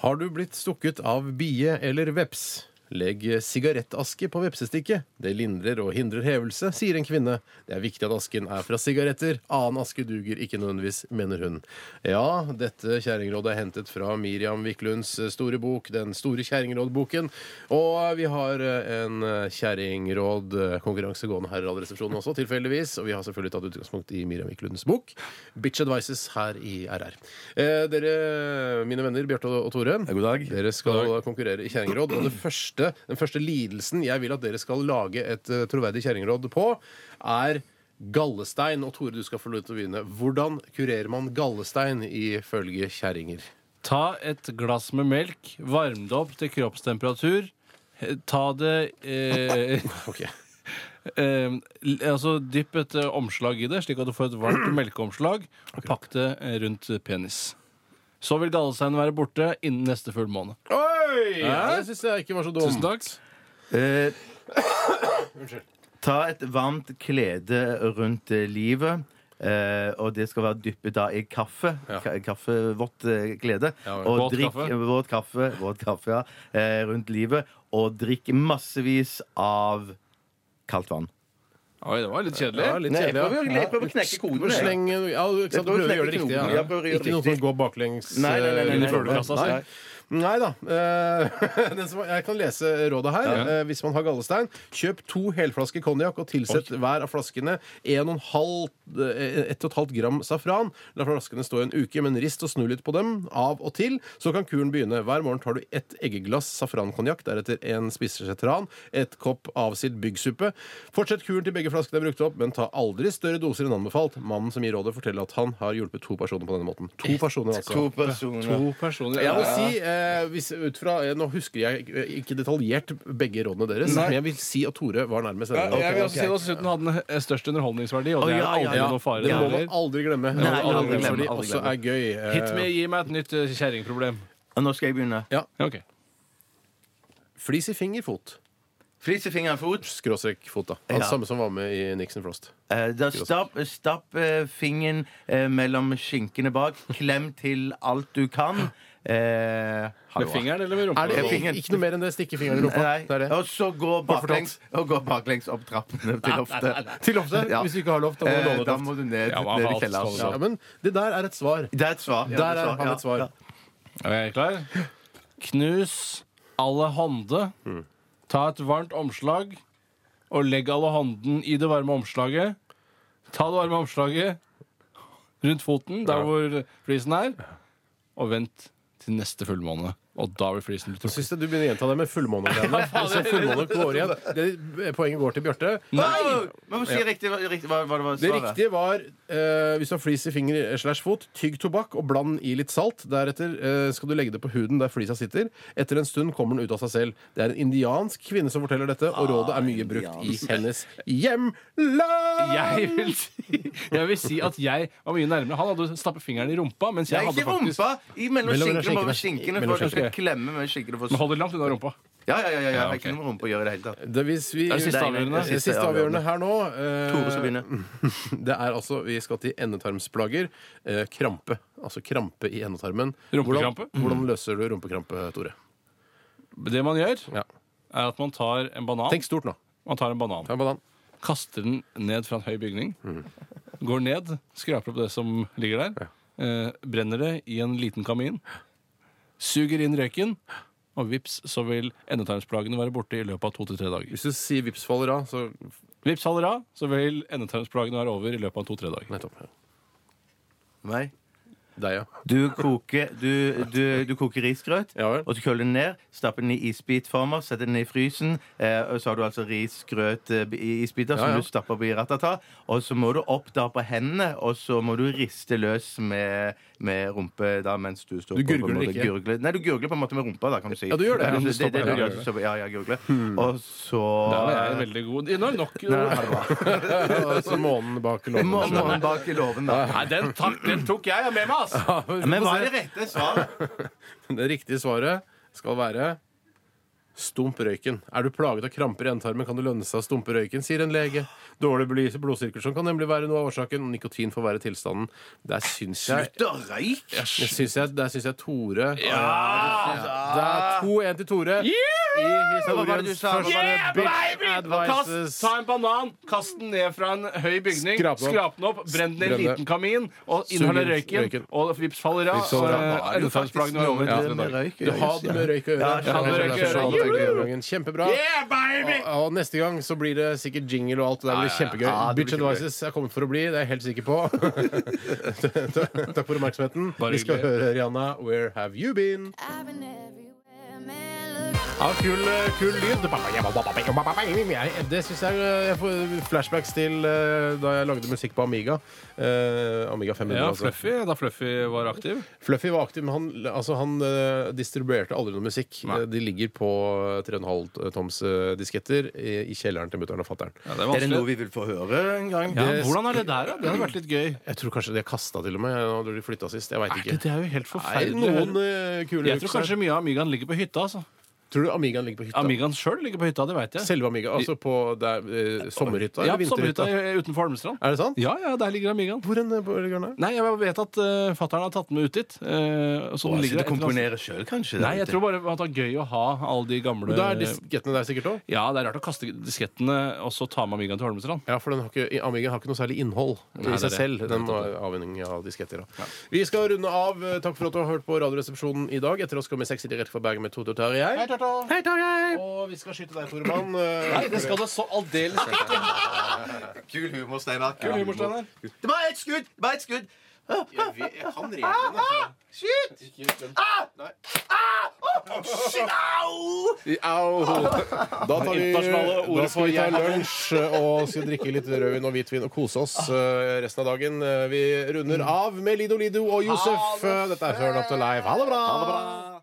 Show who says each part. Speaker 1: Har du blitt stukket av bie eller veps? Legg sigarettaske på vepsestikket. Det lindrer og hindrer hevelse, sier en kvinne. Det er viktig at asken er fra sigaretter. Annen aske duger ikke nødvendigvis, mener hun. Ja, dette kjerringrådet er hentet fra Miriam Wiklunds eh, store bok, Den store kjerringrådboken. Og eh, vi har en eh, kjerringrådkonkurranse gående her i Radioresepsjonen også, tilfeldigvis. Og vi har selvfølgelig tatt utgangspunkt i Miriam Wiklunds bok, Bitch Advices, her i RR. Eh, dere, mine venner Bjarte og Tore,
Speaker 2: God dag.
Speaker 1: dere skal konkurrere i kjerringråd. Og det første, den første lidelsen jeg vil at dere skal lage et eh, troverdig kjerringråd på, er gallestein. Og Tore, du skal få lov til å begynne. Hvordan kurerer man gallestein ifølge kjerringer?
Speaker 3: Ta et glass med melk, varm det opp til kroppstemperatur. eh, Ta det eh,
Speaker 1: Ok.
Speaker 3: eh, l- Altså dypp et eh, omslag i det, slik at du får et varmt melkeomslag, og pakk det eh, rundt penis. Så vil gallesteinen være borte innen neste full måned.
Speaker 1: Oi! Ja, det syns jeg ikke var så dumt.
Speaker 3: Tusen takk.
Speaker 2: Eh, ta et varmt klede rundt eh, livet. eh, og det skal være dyppet da i kaffe.
Speaker 1: Ja.
Speaker 2: Ka Kaffevått eh, klede.
Speaker 1: Ja, ja.
Speaker 2: og
Speaker 3: Våt
Speaker 2: drikk
Speaker 3: kaffe.
Speaker 2: våt kaffe, våt kaffe ja, eh, rundt livet. Og drikk massevis av kaldt vann.
Speaker 3: Oi, det var litt kjedelig.
Speaker 1: Ja, litt
Speaker 2: Nei, jeg
Speaker 1: kjedelig. ja.
Speaker 2: prøver, jeg prøver å knekke koden. jeg.
Speaker 1: Sleng, ja, ikke sant,
Speaker 2: Jeg
Speaker 1: du
Speaker 2: prøver å
Speaker 1: prøver å gjøre det
Speaker 2: knekke
Speaker 1: riktig.
Speaker 2: knoten.
Speaker 1: Ja.
Speaker 2: Jeg prøver å gjøre
Speaker 1: Ikke
Speaker 2: det
Speaker 1: noe som går baklengs
Speaker 2: Nei, nei, nei, nei,
Speaker 1: inn i
Speaker 2: nei,
Speaker 1: fuglekassa.
Speaker 2: nei.
Speaker 1: altså. Nei da. eh, den som, jeg kan lese rådet her. Eh, hvis man har gallestein, kjøp to helflasker konjakk og tilsett hver av flaskene 1,5 gram safran. La flaskene stå en uke, men rist og snu litt på dem av og til. Så kan kuren begynne. Hver morgen tar du ett eggeglass safrankonjakk, deretter en spiseskje tran, et kopp avsidd byggsuppe. Fortsett kuren til begge flaskene er brukt opp, men ta aldri større doser enn anbefalt. Mannen som gir rådet, forteller at han har hjulpet to personer på denne måten. To personer, altså.
Speaker 2: To personer.
Speaker 3: To personer.
Speaker 1: Jeg må si, eh, hvis, ut fra, eh, Nå husker jeg ikke- ikke detaljert begge rådene deres,
Speaker 3: Nei.
Speaker 1: men jeg vil si at Tore var nærmest. denne
Speaker 3: Ja,
Speaker 1: gangen.
Speaker 3: jeg vil også
Speaker 2: ok.
Speaker 3: si at Dessuten hadde den eh, størst underholdningsverdi, og
Speaker 2: Å,
Speaker 3: det er
Speaker 2: ja, ja,
Speaker 3: aldri
Speaker 2: ja.
Speaker 3: noe fare.
Speaker 1: Det må
Speaker 3: der.
Speaker 1: man aldri glemme.
Speaker 2: Nei, aldri
Speaker 1: Underholdningsverdi
Speaker 2: glemme, aldri
Speaker 1: også er gøy. eh,
Speaker 3: Hit med gi meg et nytt eh, kjerringproblem.
Speaker 2: Og Nå skal jeg begynne.
Speaker 3: Ja, ok.
Speaker 1: Flis i fingerfot.
Speaker 2: Flise fingeren fot.
Speaker 1: Skråstrek fot, da. Han
Speaker 2: Ja.
Speaker 1: samme som var med i Nixon Frost.
Speaker 2: Eh, da stapp stapp eh, fingeren eh, mellom skinkene bak. Klem til alt du kan. Eh, ha det
Speaker 3: Med
Speaker 2: bra.
Speaker 3: fingeren eller med rumpa?
Speaker 1: Er det
Speaker 2: det-
Speaker 1: ikke, ikke noe mer enn det? Stikke fingeren i rumpa.
Speaker 2: Nei.
Speaker 1: Det er det.
Speaker 2: Og så gå baklengs, og gå baklengs opp trappene til loftet.
Speaker 1: Til loftet.
Speaker 2: Ja.
Speaker 1: Hvis du ikke har loft, da må du
Speaker 2: Eh,
Speaker 1: låne et
Speaker 2: da
Speaker 1: loft.
Speaker 2: må du ned,
Speaker 3: Ja, hva
Speaker 2: ned i
Speaker 3: faen,
Speaker 2: kjelleren.
Speaker 3: skal
Speaker 1: Ja, men det der er et svar.
Speaker 2: Det er et svar. Ja,
Speaker 1: Der
Speaker 2: det
Speaker 1: er han et svar.
Speaker 2: Ja.
Speaker 3: Er jeg klar? Knus alle hånde. Ta et varmt omslag og legg alle hånden i det varme omslaget. Ta det varme omslaget rundt foten, der hvor flisen er, og vent til neste fullmåne. Og da blir flisen
Speaker 1: Jeg Synes jeg du begynner å gjenta det med fullmånegreiene. Så fullmåne går igjen. Det, poenget går til Bjarte.
Speaker 2: Nei! Men må si riktig, riktig hva, hva det var
Speaker 1: Det
Speaker 2: svaret.
Speaker 1: riktige var eh, hvis du har flis i finger slash fot, tygg tobakk og bland i litt salt. Deretter eh, skal du legge det på huden der flisa sitter. Etter en stund kommer den ut av seg selv. Det er en indiansk kvinne som forteller dette, og rådet er mye brukt i hennes hjemland!
Speaker 3: Jeg vil, si, jeg vil si at jeg var mye nærmere. Han hadde stappet fingeren i rumpa. Mens jeg
Speaker 2: Nei, ikke
Speaker 3: hadde faktisk
Speaker 2: rumpa! I mellom
Speaker 1: Mellom
Speaker 2: skinkene. Mellom
Speaker 1: skinkene.
Speaker 2: skinkene
Speaker 1: Mellom
Speaker 2: for du skal
Speaker 3: skinkene.
Speaker 2: klemme med skinkene for
Speaker 3: Men hold det langt unna rumpa.
Speaker 2: Ja, ja, ja. ja, ja.
Speaker 3: Ja, ok.
Speaker 2: Ikke noe med rumpe å gjøre i det hele tatt.
Speaker 1: Det, hvis vi,
Speaker 3: Det er siste
Speaker 2: Nei, nei,
Speaker 3: avgjørende.
Speaker 2: det
Speaker 1: Siste avgjørende her nå
Speaker 2: Tore skal
Speaker 1: eh,
Speaker 2: begynne.
Speaker 1: Det er altså, Vi skal til endetarmsplager. Eh, krampe. Altså krampe i endetarmen.
Speaker 3: Rumpekrampe?
Speaker 1: Hvordan, Mm. hvordan løser du rumpekrampe, Tore?
Speaker 3: Det man gjør,
Speaker 1: Ja.
Speaker 3: er at man tar en banan.
Speaker 1: Tenk stort nå.
Speaker 3: Man tar en banan.
Speaker 1: Ta en banan.
Speaker 3: kaster den ned fra en høy bygning. Går ned, skraper opp det som ligger der. Eh, brenner det i en liten kamin. Suger inn røyken, og vips, så vil endetarmsplagene være borte i løpet av to til tre dager.
Speaker 1: Hvis du sier vips faller av, så
Speaker 3: Vips faller av, så vil endetarmsplagene være over i løpet av to-tre dager.
Speaker 1: Nettopp.
Speaker 2: Nei.
Speaker 1: Deg, ja.
Speaker 2: Du koker, du, du, du koker risgrøt,
Speaker 1: Ja vel.
Speaker 2: og du køler den ned. Stapper den i isbitformer, setter den i frysen. Eh, og så har du altså risgrøt eh, i
Speaker 1: Ja,
Speaker 2: isbiter
Speaker 1: ja.
Speaker 2: som du stapper oppi ratata. Og så må du opp da på hendene, og så må du riste løs med, med rumpe da mens du står
Speaker 1: Du
Speaker 2: på- på en
Speaker 1: gurgler
Speaker 2: måte
Speaker 1: ikke?
Speaker 2: Gurgle. Nei, du gurgler på en måte med rumpa, da, kan du si. altså,
Speaker 1: Ja, du gjør det.
Speaker 2: Det, det, det,
Speaker 1: Ja,
Speaker 2: du
Speaker 1: ja,
Speaker 2: gjør, du stopper- ja, ja, gurgler.
Speaker 1: Hmm.
Speaker 2: Og så
Speaker 3: Der var jeg veldig god. Nå er det nok.
Speaker 1: altså månen bak låven.
Speaker 2: må, må han bak i låven, da.
Speaker 3: Nei, den, takk, den tok jeg med meg, ass!
Speaker 2: Men hva er det rette svaret?
Speaker 1: Det riktige svaret skal være Stump røyken. Er du plaget av kramper i endetarmen, kan det lønne seg å stumpe røyken, sier en lege. Dårlig bly- blodsirkulasjon kan nemlig være noe av årsaken. og Nikotin får være tilstanden. Der syns jeg
Speaker 2: Slutt å røyke!
Speaker 1: jeg syns jeg, der syns jeg Tore Det
Speaker 2: Ja.
Speaker 1: er 2-1 til Tore. I
Speaker 2: Hva var det du
Speaker 1: historiens
Speaker 2: sa? Hva var det?
Speaker 1: første
Speaker 2: Yeah,
Speaker 1: Bitch Advices.
Speaker 3: Kast, ta en banan, kast den ned fra en høy bygning,
Speaker 1: Skrap den opp.
Speaker 3: skrap den opp, brenn den i en
Speaker 1: Brenn det.
Speaker 3: liten kamin, og inhaler
Speaker 1: Sug inn
Speaker 3: røyken,
Speaker 1: røyken.
Speaker 3: og vips faller av.
Speaker 1: Vips faller av.
Speaker 3: og, eh, Endefallsplagene var over.
Speaker 1: Ja. Du har det med røyk å gjøre.
Speaker 2: Ja, jeg
Speaker 3: har det med røyk å gjøre.
Speaker 1: Derfor så hadde jeg det den gangen. Kjempebra.
Speaker 3: Yeah, baby!
Speaker 1: Og og neste gang så blir det sikkert jingle og alt. og Det blir kjempegøy.
Speaker 2: Ja, det blir
Speaker 1: Bitch
Speaker 2: kjempegøy.
Speaker 1: Advices er kommet for å bli, det er jeg helt sikker på. Takk for oppmerksomheten. Vi skal
Speaker 3: hyggelig.
Speaker 1: høre Rihanna, 'Where Have You Been'.
Speaker 4: I've been everywhere, man. Look.
Speaker 1: Ja, kul, kul lyd. Jeg- Det syns jeg eh, Jeg får flashbacks til eh, da jeg lagde musikk på Amiga. Eh, Amiga 500,
Speaker 3: Ja,
Speaker 1: altså.
Speaker 3: Fluffy, da Fluffy var aktiv.
Speaker 1: Fluffy var aktiv, men han, altså, han eh, distribuerte aldri noe musikk.
Speaker 3: Nei.
Speaker 1: Eh, De ligger på eh, 3,5 toms eh, disketter i, i kjelleren til mutter'n og fatter'n.
Speaker 3: Ja, det er
Speaker 2: Er det noe
Speaker 3: vanskelig.
Speaker 2: vi vil få høre en gang?
Speaker 3: Ja, hvordan er det der, da? Det hadde vært litt gøy.
Speaker 1: Jeg tror kanskje de har kasta til og med eh, når de flytta sist. Jeg veit
Speaker 3: Er
Speaker 1: ikke.
Speaker 3: det, det er jo helt
Speaker 1: Nei,
Speaker 3: forferdelig.
Speaker 1: noen eh, kule
Speaker 3: jeg tror
Speaker 1: looks her.
Speaker 3: kanskje mye av Amigaen ligger på hytta. altså
Speaker 1: Tror du Amigaen ligger på hytta?
Speaker 3: Amigaen sjøl ligger på hytta, det veit jeg.
Speaker 1: Selve Amiga? Altså på der, eh, sommerhytta
Speaker 3: Ja,
Speaker 1: eller
Speaker 3: sommerhytta
Speaker 1: vinterhytta?
Speaker 3: i- utenfor Holmestrand.
Speaker 1: Er det sant?
Speaker 3: Ja, ja, der ligger Amigaen.
Speaker 1: Hvor enn eh, på Ørlegaren er?
Speaker 3: Nei, jeg vet at uh, fatter'n har tatt den med ut dit. eh, så den ligger
Speaker 2: Å, jeg
Speaker 3: der
Speaker 2: sitter og
Speaker 3: et eller annet-
Speaker 2: komponerer sjøl, kanskje?
Speaker 3: Nei, jeg tror bare at det er gøy å ha alle de gamle
Speaker 1: Men Da er diskettene der sikkert òg?
Speaker 3: Ja, det er rart å kaste diskettene og så ta med Amigaen til Holmestrand.
Speaker 1: Ja, for den har ikke, Amigaen har ikke noe særlig innhold i
Speaker 3: Nei,
Speaker 1: seg
Speaker 3: det er det.
Speaker 1: selv. Den må avhengig av disketter. Da. Vi skal runde av. Takk for at du har hørt på Radioresepsjonen i dag. Etter oss kommer Sexy direkte fra Bergen med Toto Terje. Hei, Tarjei! Og vi skal skyte deg, Tore Mann.
Speaker 3: Nei, det skal det så aldeles ikke.
Speaker 2: Kul humor, Steinar. Kul
Speaker 3: humor, Steinar.
Speaker 2: Det var ett skudd! Det var ett skudd!
Speaker 1: Jeg, vet- jeg kan reglene.
Speaker 2: Skyt!
Speaker 1: Ikke-
Speaker 2: Skyt! Au!
Speaker 1: Au! Da tar vi,
Speaker 3: Internasjonale ordet
Speaker 1: da skal vi ta
Speaker 3: for jeg.
Speaker 1: lunsj og skal drikke litt rødvin og hvitvin og kose oss eh, resten av dagen. Eh, Vi runder av med Lido Lido og Josef. Eh, Dette er Turn Up to Live. Ha det bra!